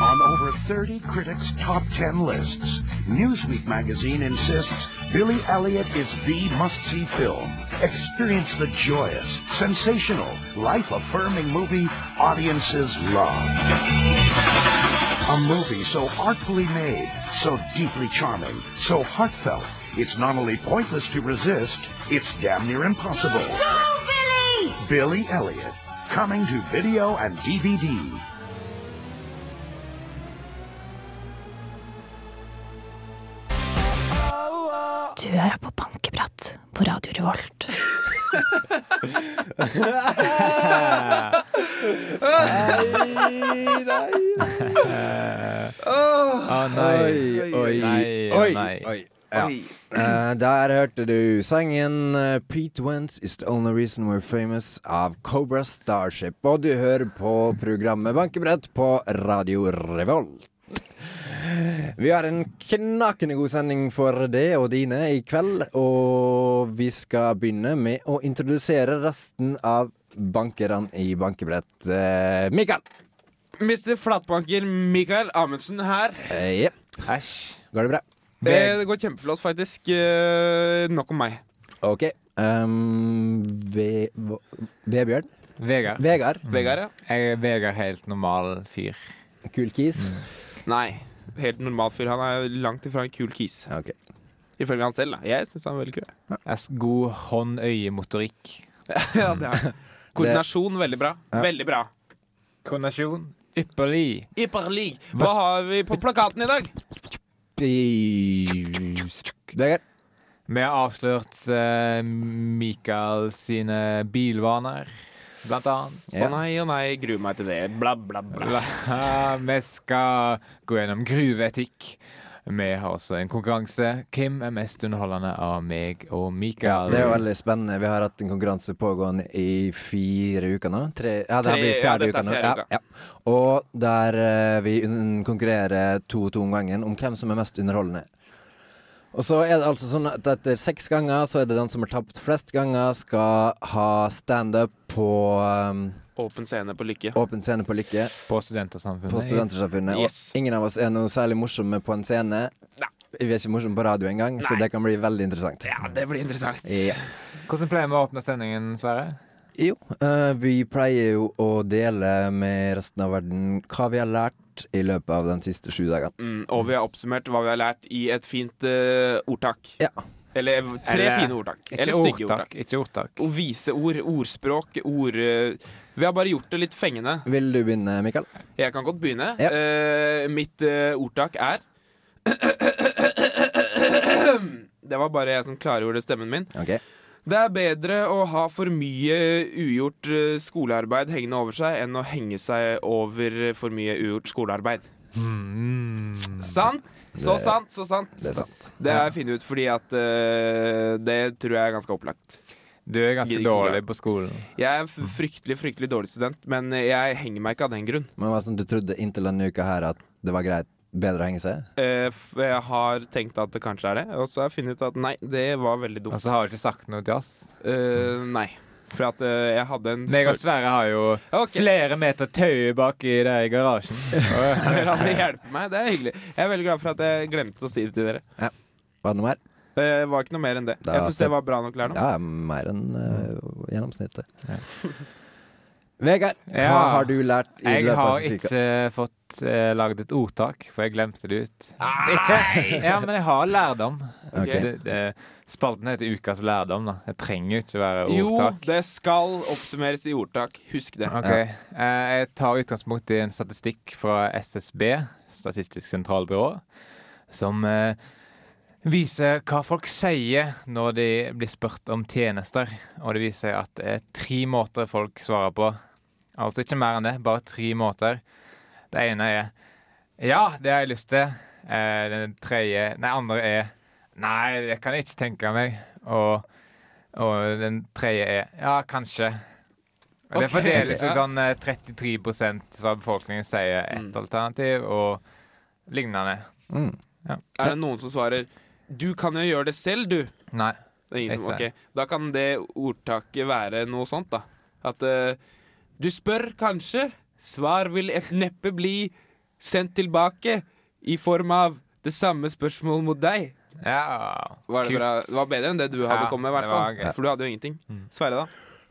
On over 30 critics' top 10 lists, Newsweek magazine insists Billy Elliot is the must-see film. Experience the joyous, sensational, life-affirming movie audiences love. A movie so artfully made, so deeply charming, so heartfelt, it's not only pointless to resist, it's damn near impossible. Go, Billy! Billy Elliot, coming to video and DVD. Du hører på Bankeprat på Radio Revolt. Nei, nei. Åh. Å nei. Oi, Oi, nei, oi, nei. oi. Ja. Eh, der hørte du sangen eh, 'Pete Wentz Is The Only Reason We're Famous' av Cobra Starship. Og du hører på programmet Bankebrett på Radio Revolt. Vi har en knakende god sending for deg og dine i kveld. Og vi skal begynne med å introdusere resten av bankerne i Bankebrett. Eh, Mikael. Mr. Flatbanker Mikael Amundsen her. Eh, Jepp. Æsj. Går det bra? Det, det går kjempeflott, faktisk. Eh, nok om meg. OK. Um, Ve hva- Vebjørn? Vegard. Vegard? Vegard, ja. Jeg er Vegard helt normal fyr. Kul kis? Mm. Nei. Helt normal fyr. Han er langt ifra en kul kis. OK. Ifølge han selv, da. Jeg syns han er veldig kul. S god hånd-øye-motorikk. ja, det er. han. Koordinasjon, veldig bra. Veldig bra. Koordinasjon ypperlig. Ypperlig. Hva har vi på plakaten i dag? Vegard? Vi har avslørt eh, Mikael sine bilvaner, blant annet. Å nei, å nei, gruer meg til det. Bla, bla, bla. Eh, Vi skal gå gjennom gruveetikk. Vi har også en konkurranse. Hvem er mest underholdende av meg og Ja, Mikael? det er veldig spennende. Vi har hatt en konkurranse pågående i fire uker nå. Tre, ja, det her Tre- blir ja, fjerde dette er uka nå. fjerde Ja, uka. ja. Og der eh, vi un- konkurrerer to to om gangen om hvem som er mest underholdende. Og så er det altså sånn at etter seks ganger så er det den som har tapt flest ganger, skal ha standup på um, Åpen scene på Lykke. Åpen scene på Lykke På Studentersamfunnet. på Studentersamfunnet. Yes. Og ingen av oss er noe særlig morsomme på en scene. Vi er ikke morsomme på radio engang, så Nei. det kan bli veldig interessant. Ja, det blir interessant. Ja. Hvordan pleier vi å åpne sendingen, Sverre? Jo, eh, vi pleier jo å dele med resten av verden hva vi har lært i løpet av de siste sju dagene. Mm, og vi har oppsummert hva vi har lært i et fint eh, ordtak. Ja. Eller tre Eller- fine ordtak. Ikke Eller stygge ordtak. ordtak. Ikke ordtak. Og vise ord, ordspråk, ord eh, Vi har bare gjort det litt fengende. Vil du begynne, Mikael? Jeg kan godt begynne. Ja. Eh, mitt eh, ordtak er Det var bare jeg som klargjorde stemmen min. Ok. Det er bedre å ha for mye ugjort eh, skolearbeid hengende over seg enn å henge seg over for mye ugjort skolearbeid. Mm. Sant? Så Det- sant, så sant. Det er sant. Det har jeg funnet ut fordi at eh, Det tror jeg er ganske opplagt. Du er ganske Gidder ikke dårlig på skolen. Jeg er en Mm. f- fryktelig fryktelig dårlig student, men jeg henger meg ikke av den grunn. Men hva som du trodde inntil denne uka her at det var greit, bedre å henge seg? Eh, f- jeg har tenkt at det kanskje er det, og så har jeg funnet ut at nei, det var veldig dumt. Og så har du ikke sagt noe til oss. Eh, nei. For at eh, jeg hadde en Meg og Sverre har jo Ok. flere meter tau baki der i garasjen. Og- Dere hadde hjulpet meg. Det er hyggelig. Jeg er veldig glad for at jeg glemte å si det til dere. Var det noe mer? Det var ikke noe mer enn det. Da- jeg syns det var bra nok lærdom. Ja, mer enn eh, gjennomsnittet. Vegard, hva Ja. har du lært i Jeg løpet av har siste uka? ikke fått eh, lagd et ordtak, for jeg glemte det ut. Ikke? Ja, men jeg har lærdom. Ok. Det, det, spalten heter Ukas lærdom, da. Det trenger jo ikke være Jo, ordtak. det skal oppsummeres i ordtak. Husk det. Ok, eh, Jeg tar utgangspunkt i en statistikk fra SSB, Statistisk sentralbyrå, som eh, viser hva folk sier når de blir spurt om tjenester. Og det viser at det er tre måter folk svarer på. Altså ikke mer enn det, bare tre måter. Det ene er ja, det har jeg lyst til. Eh, den tredje Nei, andre er nei, det kan jeg ikke tenke meg. Og, og den tredje er ja, kanskje. Og Det Ok. fordeler seg Ja. sånn eh, 33 av befolkningen sier ett alternativ og lignende. Mm. Er det noen som svarer 'Du kan jo gjøre det selv, du'? Nei. Det er ingen som, Ikke. ok. Da kan det ordtaket være noe sånt, da. At eh, du spør kanskje, svar vil et neppe bli sendt tilbake i form av det samme spørsmålet mot deg. Ja, Var det, kult. bra? det var bedre enn det du hadde Ja, kommet med, i hvert det var fall. greit. For du hadde jo ingenting. Sverre, da?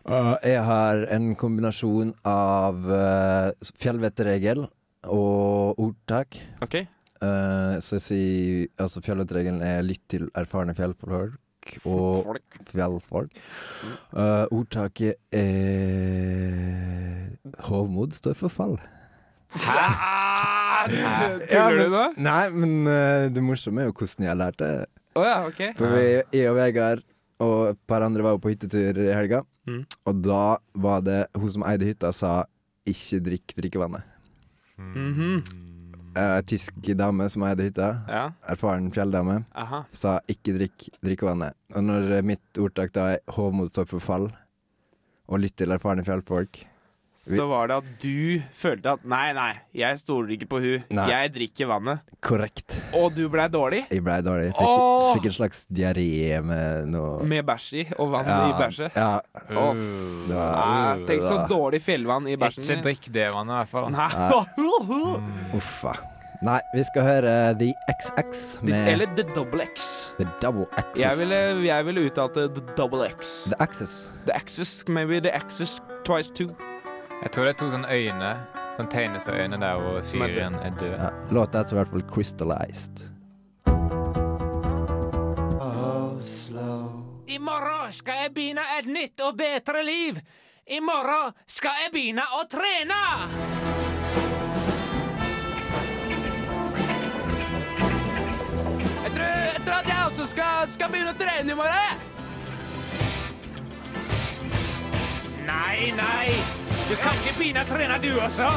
Uh, jeg har en kombinasjon av uh, fjellvettregel og ordtak. OK? Uh, så jeg sier altså fjellvettregelen er lytt til erfarne fjellfolk og Folk. fjellfolk. Uh, ordtaket er Hovmod står for fall. Hæ? Tuller Ja, men- du nå? Nei, men uh, det morsomme er jo hvordan jeg lærte det. Å ja, OK. For vi, jeg og Vegard og et par andre var jo på hyttetur i helga. Mm. Og da var det hun som eide hytta, sa 'ikke drikk drikkevannet'. Mhm. Eh, tysk dame som eide hytta, Ja. erfaren fjelldame, Aha. sa 'ikke drikk drikkevannet'. Og når eh, mitt ordtak da er 'hovmod står for fall', og 'lytt til erfarne fjellfolk' Så var det at du følte at Nei, nei, jeg stoler ikke på hun. Nei. Jeg drikker vannet. Korrekt. Og du blei dårlig? Jeg blei dårlig. Fikk, Åh! fikk en slags diaré med noe Med bæsj i, og vann i bæsjet? ja. Å, Det var- Nei, Tenk så dårlig fjellvann i bæsjen Ikke din. drikk det vannet, i hvert fall. Nei. Uffa. Nei, vi skal høre The XX med Eller The Double X. The Double Access. Jeg ville, jeg ville uttalt det The Double X. The Access. The Axis, maybe The Axis twice two. Jeg tror det er to sånne øyne, sånn tegneserieøyne der hvor Som er Syrien er død. Ja, låta heter i hvert fall Crystallized. I morgen skal jeg begynne et nytt og bedre liv. I morgen skal jeg begynne å trene. Jeg tror, jeg tror at jeg også skal, skal begynne å trene i morgen. jeg. Nei, nei. Du kan ikke begynne å trene, du også.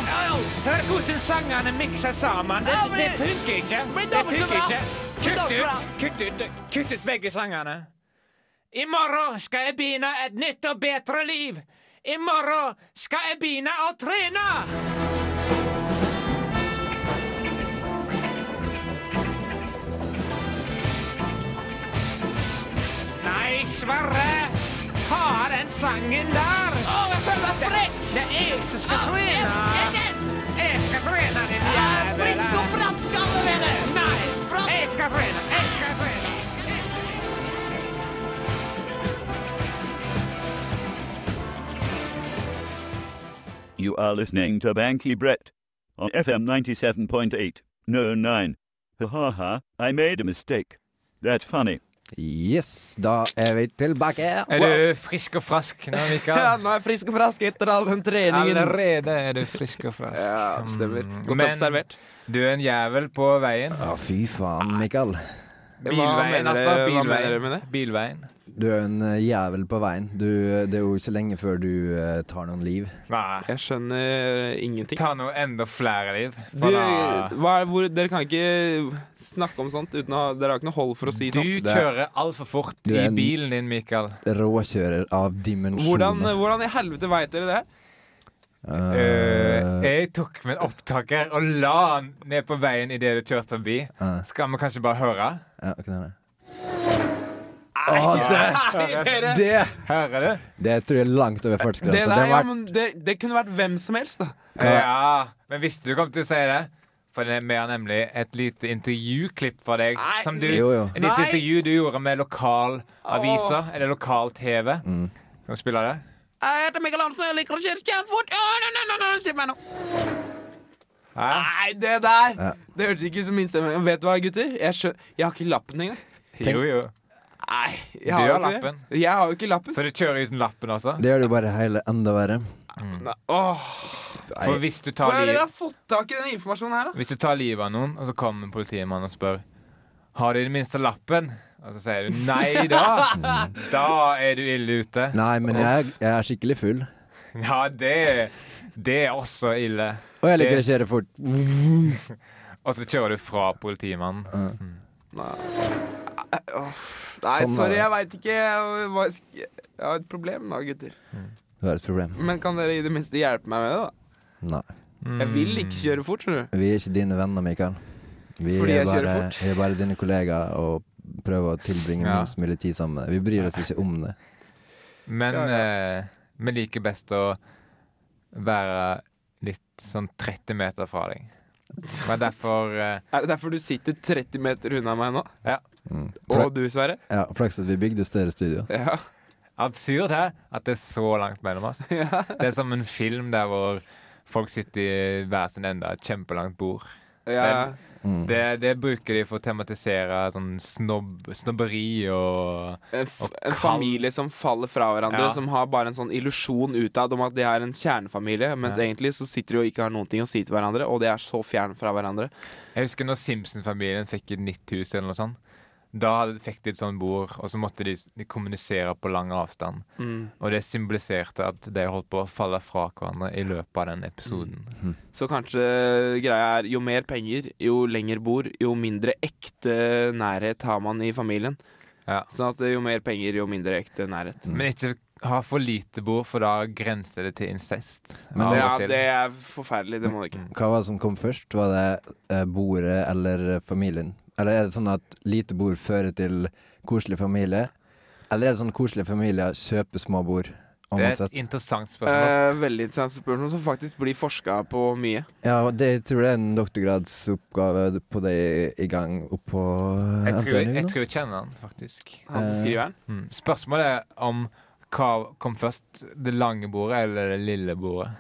Hør hvordan sangene mikser sammen. Det, Ja, men- det funker ikke. blir Det dobbelt så funker bra. ikke. Det blir Kutt dobbelt så ut, kutt ut, kutt ut begge sangene. I morgen skal jeg begynne et nytt og bedre liv. I morgen skal jeg begynne å trene. Nei, Sverre! Ta den sangen der! Å, jeg føler meg sprekk! Det er jeg som skal trene. Jeg skal trene, din jævel. Frisk og frask, alle venner. Nei, jeg skal trene. Jeg skal trene. You are listening to Banky Brett on FM 97.8. No, 9. Ha ha ha, I made a mistake. That's funny. Yes, da er vi tilbake. Er du frisk og frask nå, Ja, Mikael? nå er jeg frisk og frask etter all den treningen. Allerede er du frisk og frask. Ja, stemmer. Mm, Godt men observert. Du er en jævel på veien. Å, fy faen, Mikael. Bilveien, mener altså. dere- hva Bilveien. mener dere med det? Bilveien. Du er en eh, jævel på veien. Du, eh, det er jo ikke lenge før du eh, tar noen liv. Nei. Jeg skjønner eh, ingenting. Ta nå enda flere liv. ah. Du, For da- hva er, hvor, dere kan ikke snakke om sånt uten å ha Dere har ikke noe hold for å si du sånt. kjører altfor fort Du er i en- bilen din, Mikael. Råkjører av Hvordan, eh, dimensjoner. Eh, hvordan i helvete veit dere det her? Eh. Øh, jeg tok med en opptaker og la den ned på veien idet du kjørte forbi. Eh. Ja. Skal vi kanskje bare høre? Ja, hva er det? Å, det, Nei, dere! det Hører du? Det tror jeg er langt over Altså, Det, fartsgrensa. der, Det ja, var men det, det kunne vært hvem som helst, da. Eh, Ja, men visste du kom til å si det? For det er mer nemlig et lite intervjuklipp fra deg. Nei, som du, Jo, jo. Et lite Nei. intervju du gjorde med lokalaviser, eller lokal-TV. Mm. Skal vi spille det? Jeg heter Mikael Hansen, jeg liker å kjøre kjempefort. Å, nei, nei, nei, nei, se meg nå. Hæ? Nei, det der! Det hørtes ikke ut som min stemme. Vet du hva, gutter? Jeg, skjø jeg har ikke lappen engang. Jo, jo. Nei, jeg Du har, jo har ikke det. lappen. Jeg har jo ikke lappen. Så du kjører uten lappen, altså? Det gjør det jo bare hele enda verre. Åh, For hvis du tar hvordan har liv dere fått tak i den informasjonen her, da? Hvis du tar livet av noen, og så kommer en politimann og spør Har du i det minste lappen? Og så sier du nei da. Da er du ille ute. Nei, men jeg, jeg er skikkelig full. Ja, det, det er også ille. Og jeg liker Det- å kjøre fort. Og så kjører du fra politimannen. Nei, Sånn er sorry, det. jeg veit ikke. Jeg, hva sk- jeg har et problem da, gutter. Du har et problem. Men kan dere i det minste hjelpe meg med det, da? Nei. Jeg vil Mm. ikke kjøre fort, skjønner du. Vi er ikke dine venner, Mikael. Vi Fordi er jeg kjører bare, fort. Vi er bare dine kollegaer og prøver å tilbringe Ja. minst mulig tid sammen. Vi bryr oss ikke om det. Men Ja, eh, vi liker best å være litt sånn 30 meter fra deg. Det var derfor eh, Er det derfor du sitter 30 meter unna meg nå? Ja. Og du, Sverre? Ja, Flaks at vi bygde større studio. Mm. Ja. Absurd her at det er så langt mellom oss. Det er som en film der hvor folk sitter i hver sin ende av et kjempelangt bord. ja. Mm. Det, det bruker de for å tematisere sånn snobb, snobberi og En, f Og en kald. familie som faller fra hverandre, Ja. som har bare en sånn illusjon utad om at de er en kjernefamilie, mens egentlig så sitter de og ikke har noen ting å si til hverandre, og de er så fjern fra hverandre. Jeg husker når Simpson-familien fikk et nytt hus eller noe sånt. Da hadde- fikk de et sånt bord, og så måtte de, s- de kommunisere på lang avstand. Og det symboliserte at de holdt på å falle fra hverandre i løpet av den episoden. Så kanskje greia er jo mer penger, jo lenger bor, jo mindre ekte nærhet har man i familien. Ja. Sånn at jo mer penger, jo mindre ekte nærhet. Men ikke ha for lite bord, for da grenser det til incest. Men Av Ja, og til. det er forferdelig. Det må du ikke. Hva var det som kom først? Var det eh, bordet eller familien? Eller er det sånn at lite bord fører til koselig familie? Eller er det sånn koselige familier kjøper små bord? Og Det er motsatt? et interessant spørsmål. Eh, veldig interessant spørsmål som faktisk blir forska på mye. Ja, og det jeg tror jeg er en doktorgradsoppgave på det i gang oppå Jeg NTNU tror, jeg nå. tror jeg kjenner han, faktisk. Han som Eh, skriver den. Mm. Spørsmålet er om hva kom først, det lange bordet eller det lille bordet?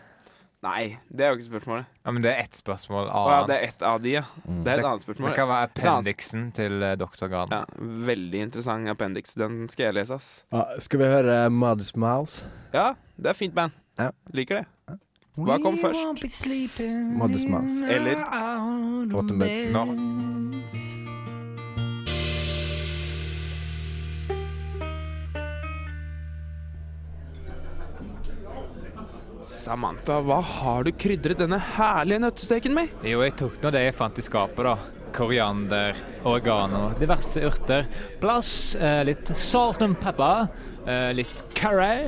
Nei, det er jo ikke spørsmålet. Ja, men Det er ett spørsmål Å ja, annet. det er ett av de, ja. Det er et annet Det spørsmål. kan være Det er annet- appendiksen til eh, doktorgraden. Ja, Veldig interessant appendix. Den skal jeg lese, ass. Ah, skal vi høre Muds Mouse? Ja, det er fint band. Ja. Liker det. Hva kom først? Modest Mouse. Eller Åtten bits. Nå. Samantha, hva har du krydret denne herlige nøttesteken med? Jo, jeg tok nå det jeg fant i skapet, da. Koriander, oregano, diverse urter. Plass, eh, litt salt and pepper, eh, litt curry.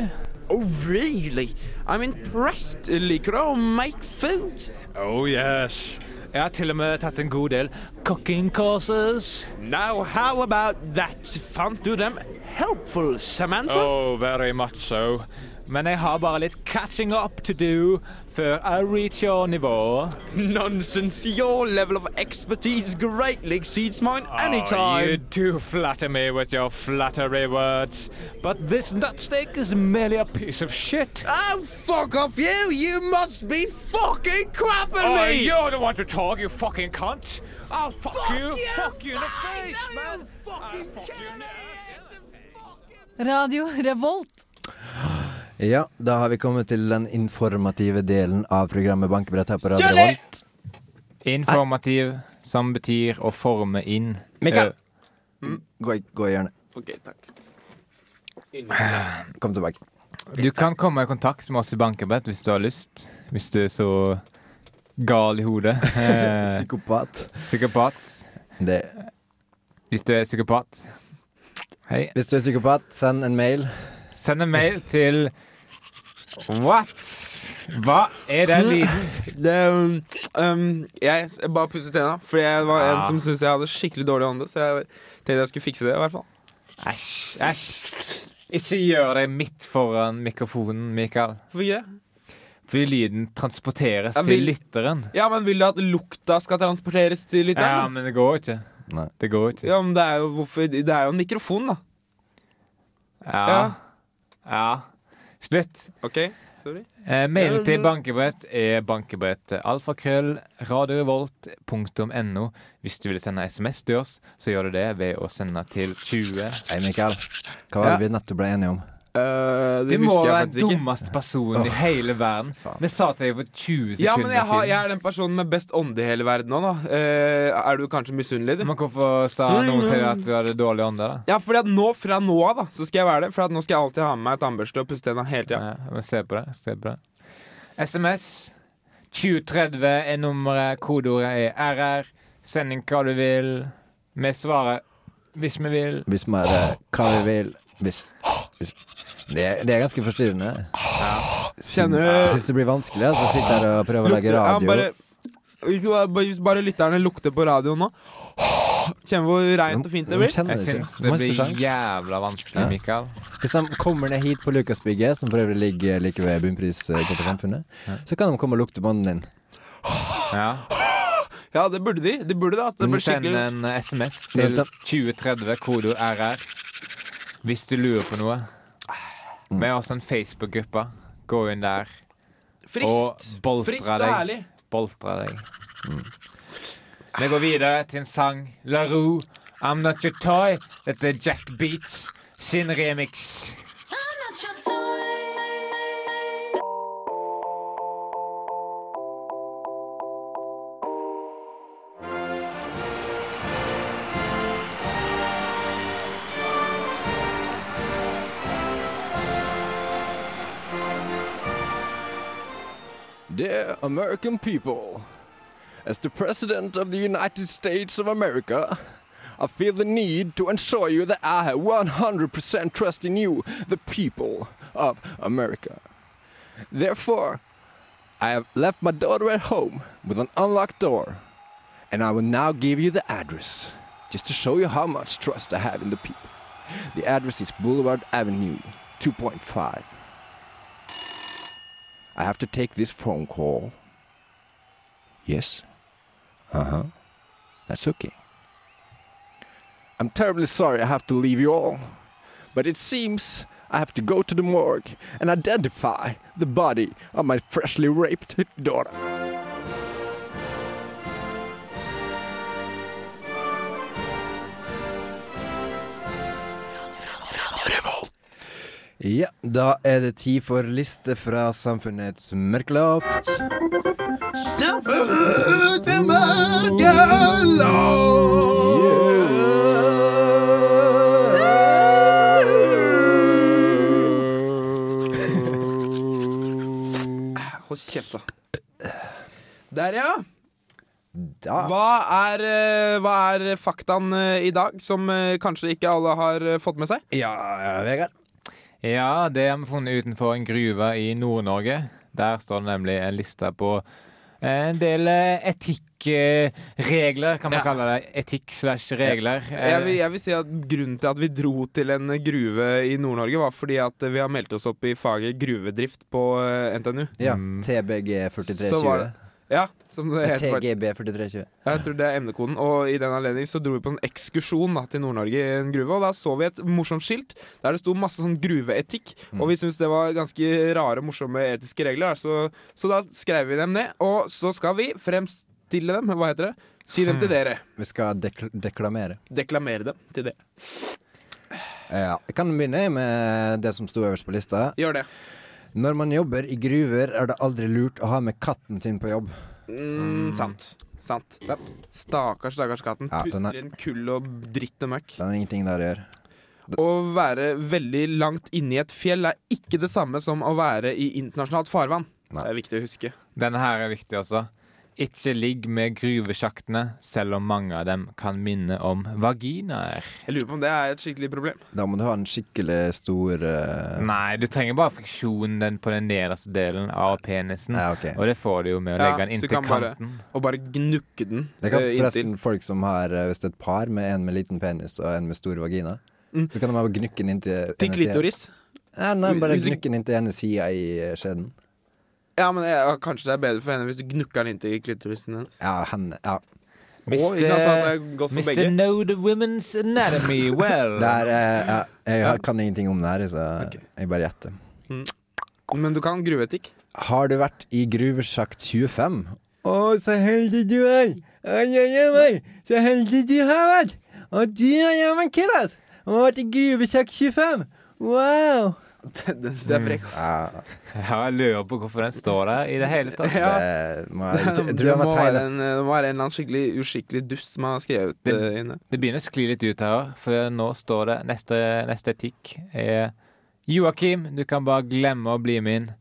Oh, really? I'm impressed. Liker du å make food? Oh yes. Jeg har til og med tatt en god del cooking courses. Now, how about that? Fant du dem helpful, Samantha? Oh, very much so. Men jeg har bare litt catching up to do før I reach your nivå. Oh, Nonsense. Your level of expertise greatly exceeds mine Oh, you do flatter me with your flattery words. But this nutstick is merely a piece of shit. Oh, fuck off you! You must be fucking crapping Oh, me! you're the one to talk, you fucking cunt. I'll fuck, you, fuck you in the face, man. I'll fuck you in the ass. Radio Revolt. Ja, da har vi kommet til den informative delen av programmet Bankebrett her på Radio Kjølig! Revolt. Informativ, som betyr å forme inn. Eh, Mikael! Gå, i- gå i hjørnet. Ok, takk. Kom tilbake. Du kan komme i kontakt med oss i Bankebrett hvis du har lyst. Hvis du er så gal i hodet. Eh, Psykopat. psykopat. Det. Hvis du er psykopat. Hei. Hvis du er psykopat, send en mail. Send en mail til What? Hva er den Hm. lyden? Det, um, um, jeg s- bare pusset tenna, fordi jeg var en Ah. som syntes jeg hadde skikkelig dårlig ånde. Så jeg tenkte jeg skulle fikse det, i hvert fall. Æsj. æsj. Ikke gjør det midt foran mikrofonen, Mikael. Hvorfor ikke det? Fordi lyden transporteres Ja, til vil- lytteren. Ja, men vil du at lukta skal transporteres til Ja, lytteren? men det går ikke. Nei. Det går ikke. Ja, men det er jo hvorfor Det er jo en mikrofon, da. Ja. ja. Slutt. OK? Sorry. Eh, mailen til bankebrett er bankebrett alfakrøll radiorevolt.no. Hvis du vil sende SMS til oss, så gjør du det ved å sende til 20 Hei, Mikael. Hva var det vi nettopp ble enige om? Eh, Du det må husker være jeg den faktisk ikke. dummeste personen i hele verden. Det sa til deg for 20 sekunder Ja, men jeg, har, jeg siden. er den personen med best ånde i hele verden nå, da. Eh, er du kanskje misunnelig? du? Men hvorfor sa noen til deg at du hadde dårlig ånde? da? Ja, fordi at nå fra nå av da Så skal jeg være det For at nå skal jeg alltid ha med meg tannbørste Og pusse tenna hele tiden Ja, men se på det. se på det SMS 2030 er nummeret. Kodeordet er RR. Send inn hva du vil. Vi svarer hvis vi vil. Hvis man er eh, hva vi vil hvis, hvis. Det, er- det er ganske forstyrrende. Kjenner du Jeg syns det blir vanskelig altså, å sitte her og prøve å lage lukter- ja, radio. bare- Hvis bare, hvis bare lytterne lukter på radioen nå Kjenner hvor rent og fint det blir Jeg Kjenner du syns ikke? det Masse blir sjans. jævla vanskelig, Mikael. Hvis de kommer ned hit på Lukasbygget, som for øvrig ligger like ved bunnpris, eh, Kultursamfunnet, så kan de komme og lukte på ånden din. Ja. Ja, det burde de. De burde det. At det blir Send skikkelig en SMS til 2030 kodo RR hvis du lurer på noe. Vi har også en Facebook-gruppe. Gå inn der og friskt. Friskt boltre og deg. ærlig. Boltre deg. Mm. Vi går videre til en sang. La Roux, I'm Not Your Toy. Dette er Jack Beats sin remix. Dear American people, as the President of the United States of America, I feel the need to assure you that I have 100% trust in you, the people of America. Therefore, I have left my daughter at home with an unlocked door, and I will now give you the address just to show you how much trust I have in the people. The address is Boulevard Avenue 2.5. I have to take this phone call. Yes? Uh huh. That's okay. I'm terribly sorry I have to leave you all, but it seems I have to go to the morgue and identify the body of my freshly raped daughter. Ja, da er det tid for liste fra Samfunnets mørkeloft. Hold kjeft, da. Der, ja. Da Hva er, eh, hva er faktaen eh, i dag som eh, kanskje ikke alle har eh, fått med seg? Ja, Vegard. Ja, det har vi funnet utenfor en gruve i Nord-Norge. Der står det nemlig en liste på en del eh, etikkregler, kan man Ja. kalle det. Etikk slash regler. Jeg vil, jeg vil si at Grunnen til at vi dro til en gruve i Nord-Norge, var fordi at vi har meldt oss opp i faget gruvedrift på eh, NTNU. Ja, Mm. TBG Så var 4320. det- Ja, som det heter. faktisk. TGB 4320. Ja, Jeg tror det er emnekoden. Og i den anledning så dro vi på en ekskursjon da, til Nord-Norge i en gruve, og da så vi et morsomt skilt der det sto masse sånn gruveetikk, Mm. og vi syntes det var ganske rare, morsomme etiske regler, da. så, så da skrev vi dem ned, og så skal vi fremstille dem, hva heter det? Si dem til dere. Vi skal dekl deklamere. Deklamere dem til det. Ja, jeg kan begynne med det som sto øverst på lista. Gjør det. Når man jobber i gruver, er det aldri lurt å ha med katten sin på jobb. Mm, sant. Sant. Stakkars, stakkars katten. Ja, den er- Puster inn kull og dritt og møkk. Den har ingenting der å gjøre. Å være veldig langt inni et fjell er ikke det samme som å være i internasjonalt farvann. Nei. Det er viktig å huske. Denne her er viktig også. Ikke ligg med gruvesjaktene, selv om mange av dem kan minne om vaginaer. Jeg lurer på om det er et skikkelig problem. Da må du ha en skikkelig stor Mm. eh, Nei, du trenger bare friksjonen den på den nederste delen av penisen. Ja, ok. Og det får du jo med å Ja, legge den inntil så kan bare- kanten. Å bare gnukke den Det kan eh, forresten inntil. folk som har eh, hvis det er et par med en med liten penis og en med stor vagina. Mm. Så kan de bare gnukke den inntil Til klitoris. Ja, nei, bare Hvis du- gnukke den inntil ene sida i eh, skjeden. Ja, men eh, kanskje det er bedre for henne hvis du gnukker den inntil klitorisen hennes. Ja, henne. Ja. Å, ikke sant, så det er godt for Mr. begge. Know the Women's Anatomy well. Det er, eh, ja, jeg har- kan ingenting om det her, så jeg bare gjetter. Men du kan gruveetikk. Har du vært i gruvesjakt 25? Å, så heldig du er! Oi, oi, oi, så heldig du har vært! Og du har jeg markert! Og vært i gruvesjakt 25! Wow! Den synes Mm. jeg er frekk, altså. ass. Ja, Ja, jeg lurer på hvorfor den står der i det hele tatt. Ja. det må jeg, jeg tror Det jeg må må være tegne en, det må være en eller annen skikkelig uskikkelig dust som har skrevet det Det- inne. Det begynner å skli litt ut her, også, for nå står det neste, neste etikk er Joakim, du kan bare glemme å bli med inn. Ja,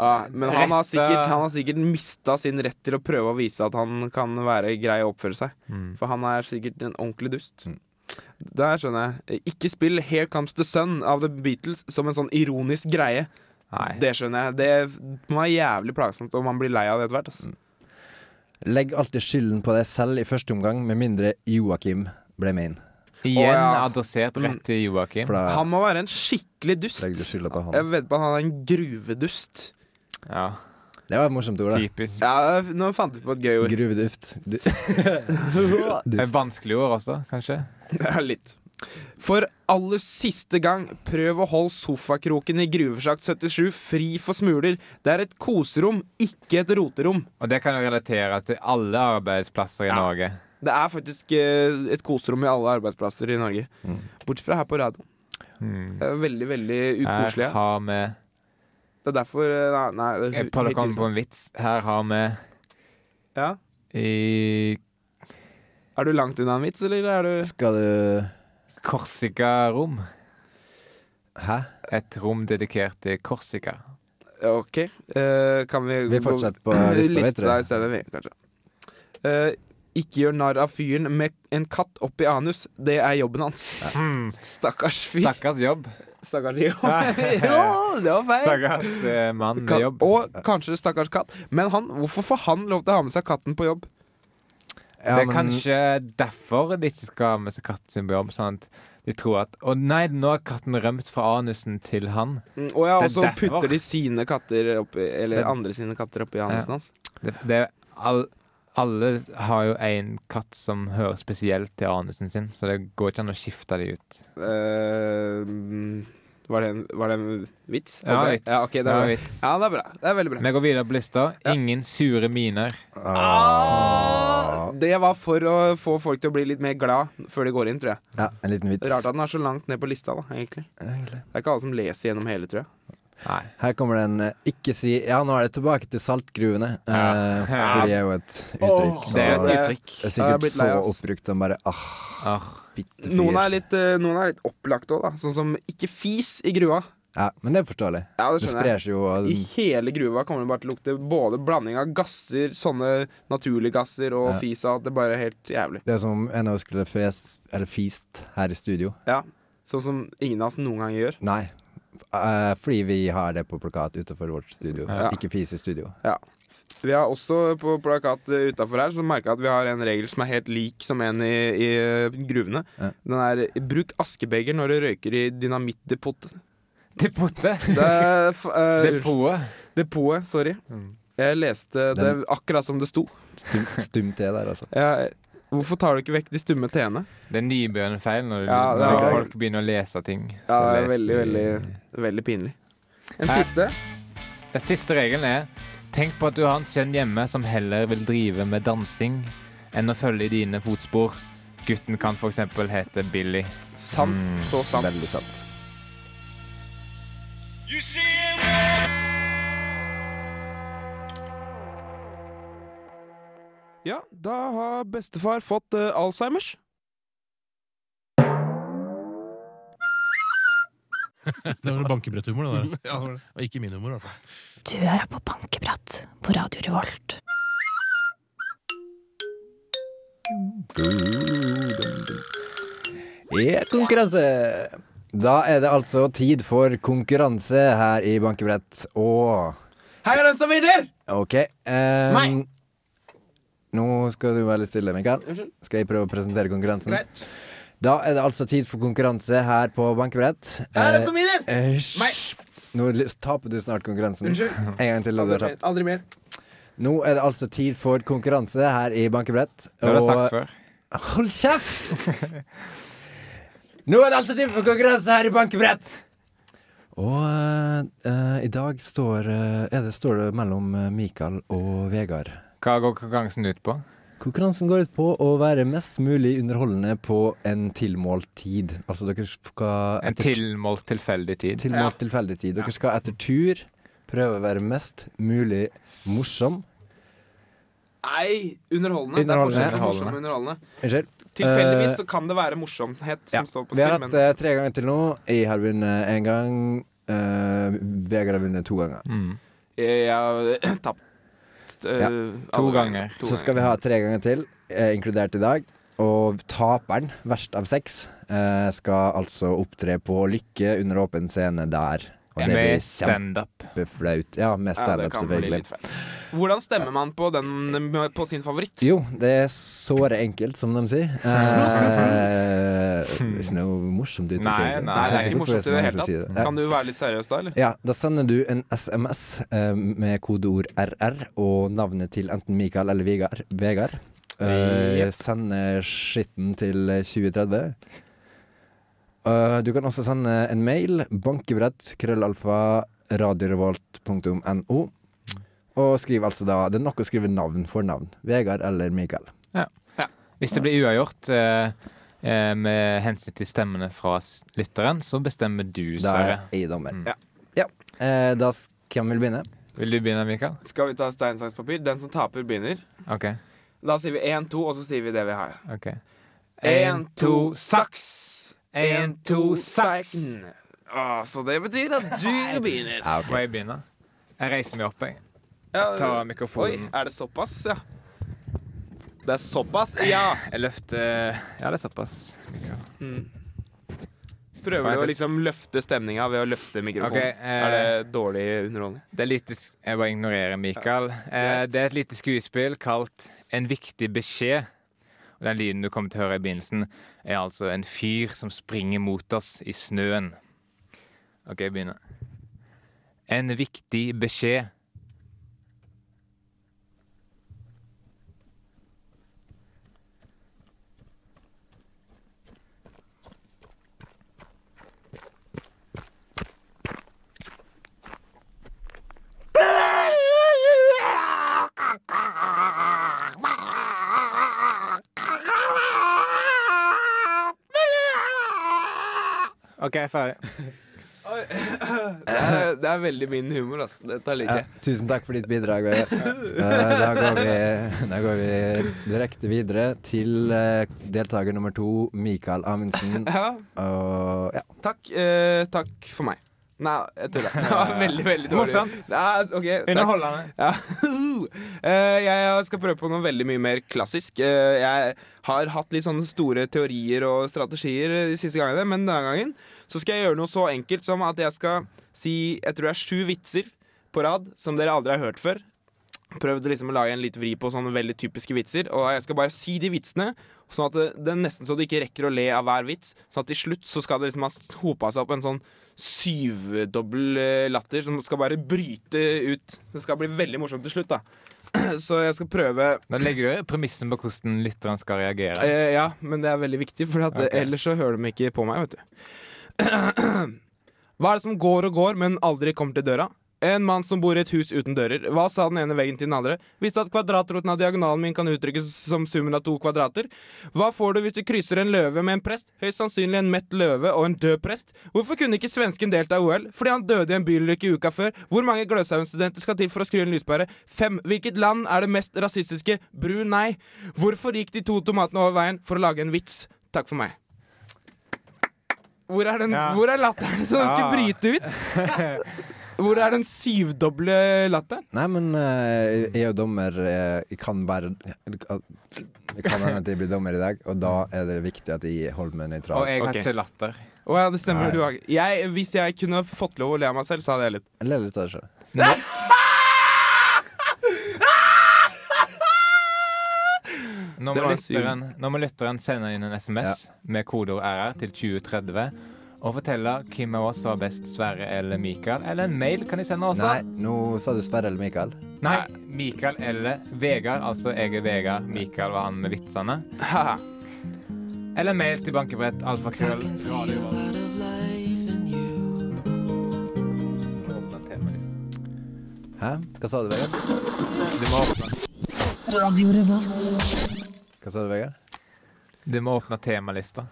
Eh, men han har, Rette- sikkert, han har sikkert mista sin rett til å prøve å vise at han kan være grei og oppføre seg. Mm. For han er sikkert en ordentlig dust. Der skjønner jeg. Ikke spill 'Here Comes the Sun' av The Beatles som en sånn ironisk greie. Nei. Det skjønner jeg. Det må være jævlig plagsomt om han blir lei av det etter hvert. Mm. ass. Legg alltid skylden på deg selv i første omgang, med mindre Joakim ble med inn. Igjen Å, ja. adressert rett Mm. til Joakim. For da Han må være en skikkelig legger du dust. skylda på Jeg han. vedder på at han er en gruvedust. Ja. Det var et morsomt ord, da. Typisk. Ja, nå fant vi på et gøy ord. Gruveduft. Du, Eh, dust. Vanskelig ord også, kanskje? Ja, litt. For aller siste gang, prøv å holde sofakroken i Gruvesjakt 77 fri for smuler. Det er et koserom, ikke et roterom. Og det kan jo relatere til alle arbeidsplasser i Norge. Det er faktisk eh, et koserom i alle arbeidsplasser i Norge. Bortsett fra her på radioen. Hmm. Det er veldig, veldig Her ukoselig. har vi Det er derfor eh, Nei, nei det er Jeg prøvde å komme på en vits. Her har vi Ja. i Er du langt unna en vits, eller er du Skal du Korsika-rom. Hæ? Et rom dedikert til Korsika. OK. eh, kan vi Vi gå- fortsetter på lista mi, Liste tror deg i jeg. stedet, vi, kanskje. Eh, ikke gjør narr av fyren med en katt opp i anus. Det er jobben hans. Hmm. Stakkars fyr. Stakkars jobb. Stakkars jo. jo, det var feil. Stakkars eh, mann med Katt, jobb. og kanskje stakkars katt. Men han, hvorfor får han lov til å ha med seg katten på jobb? Ja, det er men- kanskje derfor de ikke skal ha med seg katten sin på jobb. Sånn at de tror at Å nei, nå har katten rømt fra anusen til han. Mm, Og ja, Det er og så derfor. putter de sine katter oppi Eller Det- andre sine katter oppi anusen hans. Det, det er all, alle har jo en katt som hører spesielt til anusen sin, så det går ikke an å skifte de ut. Eh, mm, var, det en, var det en vits? Det var vits. Ja, ok, det Det var var, vits. ja, det er bra. Det er veldig bra. Vi går videre på lista. Ingen sure miner. Ah, det var for å få folk til å bli litt mer glad før de går inn, tror jeg. Ja, en liten vits. Rart at den er så langt ned på lista, da, egentlig. Det er ikke alle som leser gjennom hele, tror jeg. Nei. Her kommer den eh, 'ikke si Ja, nå er det tilbake til saltgruvene. Ja. Eh, for det er jo et uttrykk. Åh, Det er Og et det- uttrykk. det er Jeg er sikkert blitt lei, så ass. oppbrukt den bare ah, Arr. fitte Noen er fyr. litt, eh, noen er litt opplagt òg, da. Sånn som ikke fis i gruva. Ja, men det er forståelig. Ja, det Det skjønner sprer jeg. seg jo og I hele gruva kommer det bare til å lukte både blanding av gasser, sånne naturlige gasser, og Ja. fis og alt. Det er bare helt jævlig. Det er som en av oss skulle fes, eller fist her i studio. Ja. Sånn som ingen av oss noen gang gjør. Nei. Eh, fordi vi har det på plakat utenfor vårt studio. Ja. Ikke fis i studio. Vi har også på plakat utafor her så merka at vi har en regel som er helt lik som en i, i eh, gruvene. Ja. Den er 'bruk askebeger når du røyker i dynamittdepot'. Depotet. Det er f- eh, Depotet. Depotet, sorry. Mm. Jeg leste det Den- akkurat som det sto. Stum, stum te der, altså. Jeg, hvorfor tar du ikke vekk de stumme t-ene? Det er nybegynnerfeil når, du- Ja, det når er- folk begynner å lese ting. Ja, så det er leser veldig, de- veldig, veldig pinlig. En Hæ? siste. Den siste regelen er Tenk på at du har en sønn hjemme som heller vil drive med dansing enn å følge i dine fotspor. Gutten kan f.eks. hete Billy. Sant, Mm, så sant. Veldig sant. Ja, da har bestefar fått eh, Alzheimers. Det var bankebretthumor, det der. Og ikke min humor, i hvert fall. Du hører på Bankeprat på Radio Revolt. Uh, Ja, konkurranse! Da er det altså tid for konkurranse her i Bankebrett. Og Hei, er den som vinner! OK ehm, Meg. Nå skal du være litt stille, Mikael. Unnskyld. Skal jeg prøve å presentere konkurransen? Greit. Da er det altså tid for konkurranse her på Bankebrett. Hei, er den som vinner! Eh, hysj. Nå li- taper du snart konkurransen. Unnskyld. En gang til. og du har Aldri mer. tapt. Aldri mer. Nå er det altså tid for konkurranse her i Bankebrett. Det har jeg og- sagt før. Hold kjeft! Nå er det altså tid for konkurranse her i Bankebrett! Og eh, i dag står, eh, er det, står det mellom eh, Mikael og Vegard. Hva går konkurransen ut på? Konkurransen går ut på å være mest mulig underholdende på en tilmålt tid. Altså dere skal En etter, tilmålt tilfeldig tid. tilmålt tilfeldig tid. Dere skal etter tur prøve å være mest mulig morsom. Nei, underholdende. Underholdende. Det er forskjell på morsom og underholdende. Unnskyld. Tilfeldigvis så kan det være morsomhet som Ja, står på Vi har hatt spill, men eh, tre ganger til nå. Jeg har vunnet én gang. eh, Vegard har vunnet to ganger. Mm. Eh, jeg har tapt eh, eh, Ja. To alle ganger. To Så skal vi ha tre ganger til, eh, inkludert i dag. Og taperen, verst av seks, eh, skal altså opptre på Lykke under åpen scene der Og det Med blir standup. kjempeflaut. Ja, med Ja, det standup, kan bli selvfølgelig. litt feil. Hvordan stemmer man på, den, på sin favoritt? Jo, det er såre enkelt, som de sier. Eh, det er ikke noe morsomt uttrykk. Nei, egentlig. nei, Nei, det Jeg er skjønner ikke hvorfor morsomt i så det mange hele som sier tatt. det. Ja. Kan du være litt seriøs da, eller? Ja, da sender du en SMS eh, med kodeord RR og navnet til enten Mikael eller Vigar, Vegard. Eh, Jep. Sender skitten til 2030. Eh, du kan også sende en mail. Bankebrett, krøllalfa, radiorevolt.no. Og skriv altså da Det er nok å skrive navn for navn. Vegard eller Mikael. Hvis det blir uavgjort eh, eh, med hensyn til stemmene fra s- lytteren, så bestemmer du, Da er Sverre. jeg dommer. Mm. Ja. Eh, da s- kan vi begynne. Vil du begynne, Mikael? Skal vi ta stein, saks, papir? Den som taper, begynner. OK. Da sier vi én, to, og så sier vi det vi har. ok Én, to, saks. En, to, saks. Mm. Ah, så det betyr at du begynner. Ja, Må ok. jeg begynne? Jeg reiser meg opp, jeg. Ja, Tar Oi, mikrofonen. er det såpass, ja? Det er såpass? Ja. Jeg løfter Ja, det er såpass. Mikael. Prøver du å liksom løfte stemninga ved å løfte mikrofonen? Ok, eh, Er det dårlig underholdning? Det er lite sk- Jeg bare ignorerer Mikael. Eh, greit. det er et lite skuespill kalt En viktig beskjed. Og Den lyden du kommer til å høre i begynnelsen, er altså en fyr som springer mot oss i snøen. OK, jeg begynner. En viktig beskjed. OK, jeg er ferdig. Det er, det er veldig min humor, altså. Dette liker Ja, jeg. tusen takk for ditt bidrag. Vegard. Eh, Da går vi, da går vi direkte videre til eh, deltaker nummer to, Mikael Amundsen. Ja, Og ja, takk. Eh, takk for meg. Nei, jeg tuller. Det var veldig, veldig dårlig. Eh, Morsomt. Ja, ok, takk. Underholdende. Ja. Eh, jeg skal prøve på noe veldig mye mer klassisk. Eh, jeg har hatt litt sånne store teorier og strategier de siste gangene, men denne gangen så skal jeg gjøre noe så enkelt som at jeg skal si Jeg tror det er sju vitser på rad som dere aldri har hørt før. Prøvd liksom å lage en litt vri på sånne veldig typiske vitser. Og jeg skal bare si de vitsene, sånn at det, det er nesten så du ikke rekker å le av hver vits. Sånn at til slutt så skal det liksom ha hopa seg opp en sånn syvdobbel eh, latter som skal bare bryte ut. Det skal bli veldig morsomt til slutt, da. Så jeg skal prøve Da legger du premissen på hvordan lytteren skal reagere. Eh, ja, men det er veldig viktig, for at, Ok. ellers så hører de ikke på meg, vet du. Hva er det som går og går, men aldri kommer til døra? En mann som bor i et hus uten dører. Hva sa den ene veggen til den andre? Visste at kvadratroten av diagonalen min kan uttrykkes som summen av to kvadrater. Hva får du hvis du krysser en løve med en prest? Høyst sannsynlig en mett løve og en død prest. Hvorfor kunne ikke svensken delta i OL? Fordi han døde i en bylykke uka før. Hvor mange Gløshaugen-studenter skal til for å skru en lyspære? Fem. Hvilket land er det mest rasistiske? Brunei. Hvorfor gikk de to tomatene over veien for å lage en vits? Takk for meg. Hvor er, den, Ja. hvor er latteren som Ja. skal bryte ut? Hvor er den syvdoble latteren? Nei, men eh, jeg og dommer eh, jeg kan være Det kan hende at jeg blir dommer i dag, og da er det viktig at jeg holder meg Og nøytral. jeg har Ok. ikke latter. Å ja, det stemmer. Nei. Du har ikke- jeg, hvis jeg kunne fått lov å le av meg selv, så hadde jeg litt. Jeg ler litt av det sjøl. Nå Det må, var litt lytteren, nå må lytteren sende inn en SMS med kodeord RR til 2030 og fortelle hvem av oss som var best, Sverre eller Mikael. Eller en mail kan de sende også. Nei, nå sa du Sverre eller Mikael. Nei, Mikael eller Vegard. Altså jeg er Vegard, Mikael var han med vitsene. Haha. Eller en mail til bankebrett alfakrøll. Hæ? Hva sa du, Vegard? Du må åpne, Radio Revolt. Hva sa du, Vegard? du må åpne temalista.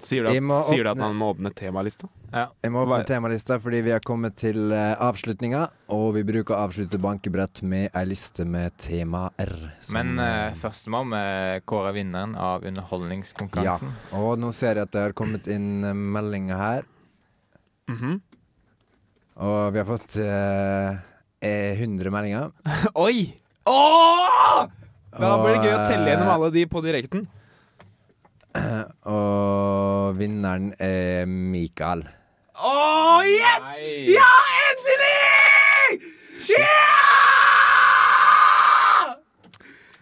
Sier du, Jeg må at, sier du at åpne- han må åpne temalista? Ja. Jeg må åpne Hva- temalista fordi vi har kommet til eh, avslutninga. Og vi bruker å avslutte bankebrett med ei liste med temaer. som- Men eh, først må vi kåre vinneren av ja. underholdningskonkurransen. Og nå ser jeg at det har kommet inn eh, meldinger her. Og vi har fått eh, eh, 100 meldinger. Oi! Åh! Da blir det gøy å Og, telle gjennom eh, alle de på direkten. Og vinneren er Mikael. Å, yes! Nei. Ja, endelig! Ja!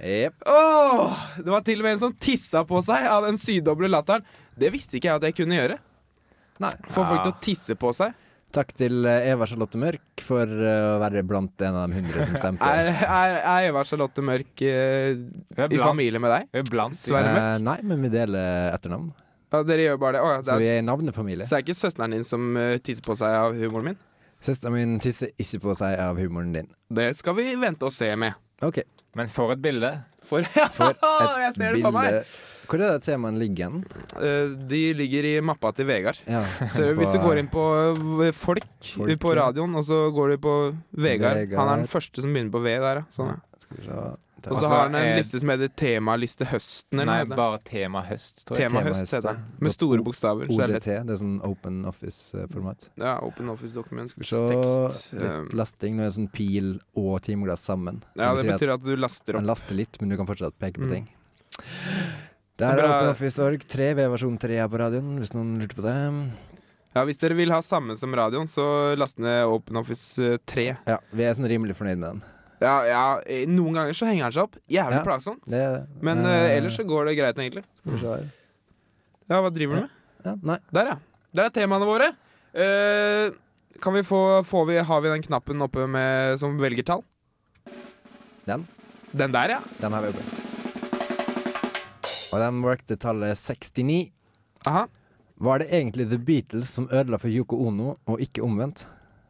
Jepp. Åh, det var til og med en som tissa på seg av den sydoble latteren. Det visste ikke jeg at jeg kunne gjøre. Nei. Få folk til å tisse på seg. Takk til eh, Eva Charlotte Mørk for eh, å være blant en av de hundre som stemte. Er, er, er Eva Charlotte Mørk eh, Hun er i blant- familie med deg? Hun er blant de- Sverre. Eh, Mørk? nei, men vi deler etternavn. Ja, dere gjør bare det. Åh, Så vi det er, er i navnefamilie. så er ikke søsteren din som eh, tisser på seg av humoren min? Søsteren min tisser ikke på seg av humoren din. Det skal vi vente og se med. OK. Men for et bilde. For, For jeg ser det for meg! Hvor er det temaet ligger hen? Eh, de ligger i mappa til Vegard. Ja, Ser du, hvis du går inn på eh, folk, Folk, på ja. radioen, og så går du på Vegard. Vegard. Han er den første som begynner på V der. ja. Sånn, ja. Skal vi se. Og så Altså, har han en er- liste som heter temaliste høsten. Eller Nei, noe. bare tema høst, tror jeg. Tema Tema høst heter høsten. det. Med store bokstaver. Så det ODT, er lett. det er sånn open office-format. Ja, Open Office Document. Skal vi se Tekst. Litt Um, lasting. Nå er det sånn pil og timeglass sammen. Ja, det at betyr at du laster den opp. laster litt, men du kan fortsatt peke på Mm. ting. Der er Bra. Open Office Org 3, V-versjon 3 er på radioen, hvis noen lurte på det. Ja, Hvis dere vil ha samme som radioen, så last ned Open Office eh, 3. Ja, vi er sånn rimelig fornøyd med den. Ja, ja, eh, Noen ganger så henger den seg opp. Jævlig Ja. plagsomt. Det er det. Men eh, Eh, ellers så går det greit, egentlig. Skal vi se her. Ja, hva driver du med? Ja, nei. Der, ja. Der er temaene våre. Eh, kan vi få, får vi, har vi den knappen oppe med, som velger tall? Den? Den der, ja. Den har vi oppe. Og den workte tallet 69. Aha. Var det egentlig The Beatles som ødela for Yoko Ono, og ikke omvendt?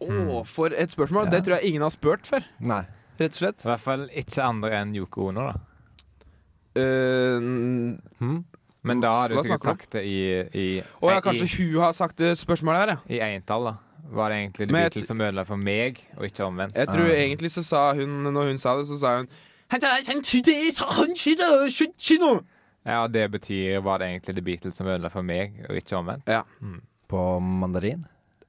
Å, for et spørsmål. Det tror jeg ingen har spurt før. Nei. Rett og slett. I hvert fall ikke andre enn Yoko Ono, da. Eh, Hm? Men da har du Hva sikkert snakker du om? sagt det i, i, og ja, nei, kanskje hun har sagt det spørsmålet her, ja. i, i entall, da. Var det egentlig The Men jeg- Beatles som ødela for meg, og ikke omvendt? Jeg tror egentlig så sa hun, når hun sa det, så sa hun Ja, det betyr var det egentlig The Beatles som ødela for meg, og ikke omvendt? På mandarin?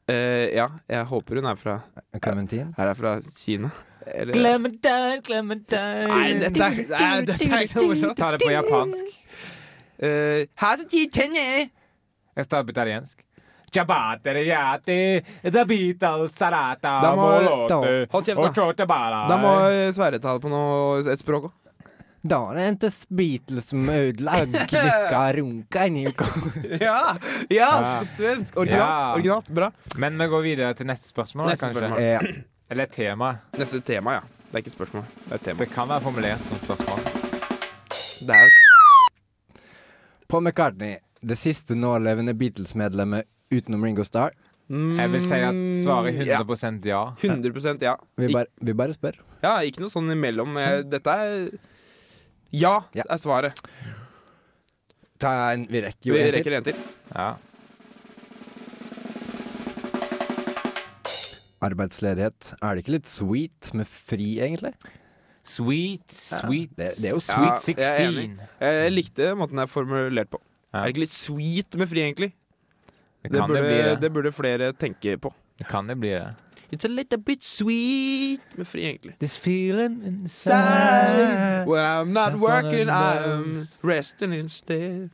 Eh, Ja, jeg håper hun er fra, Clementine? her er fra Kina. Eller- Clementine, Clementine Nei, dette er, nei, dette er ikke noe morsomt. Ta det på japansk. Eh, her er så ti tenner. Jeg står på italiensk. Ciabateriati, The Beatles, Sarata, Da må- Molote, Hold kjeft, da. og Chotebara. Da må Sverre ta det på noe, et språk òg. Da var det ikke Beatles som ødela klikka runka i Yoko. Ja! ja på Svensk. Originalt. Ja. originalt. Bra. Men vi går videre til neste spørsmål, Neste kanskje. spørsmål. Ja. Eller tema. Neste tema, ja. Det er ikke spørsmål. Det er tema. Det kan være formulert som spørsmål. Det er Paul McCartney, det siste nålevende Beatles-medlemmet utenom Ringo Starr. Jeg vil si at svaret er Mm, ja. 100 ja. 100 ja. Vi, Ik- bare- vi bare spør. ja. Ikke noe sånn imellom. Eh, Dette er Ja, Ja. er svaret. Ta en, vi rekker jo Vi en til. rekker en til. ja. Arbeidsledighet. Er det ikke litt sweet med fri, egentlig? Sweet, sweet Det, det er jo Ja, sweet. jeg er enig. 16. Eh, Jeg likte måten det er formulert på. Ja. Er det ikke litt sweet med fri, egentlig? Det Det kan det burde, bli det det. burde flere tenke på. Det kan det bli det. It's a little bit sweet med fri, egentlig. This feeling inside Side. When I'm not Not working, one of I'm those. resting instead.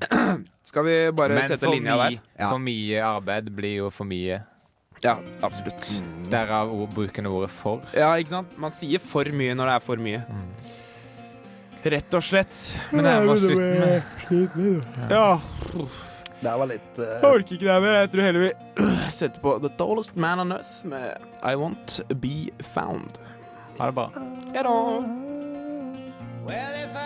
Skal vi bare Men sette for, linja der? mi, Ja. for mye Sånn. arbeid blir jo for mye. Ja, absolutt. Mm. Derav ord- bruken av ordet for. Mm. Ja, ikke sant? Man sier for mye når det er for mye. Rett og slett. Men nærmer oss slutten. Ja, Det var litt eh, jeg orker ikke det her mer. Jeg tror heller vi setter på The Tallest Man on Earth med I Won't Be Found. Ha det bra. Ha det. Well, if I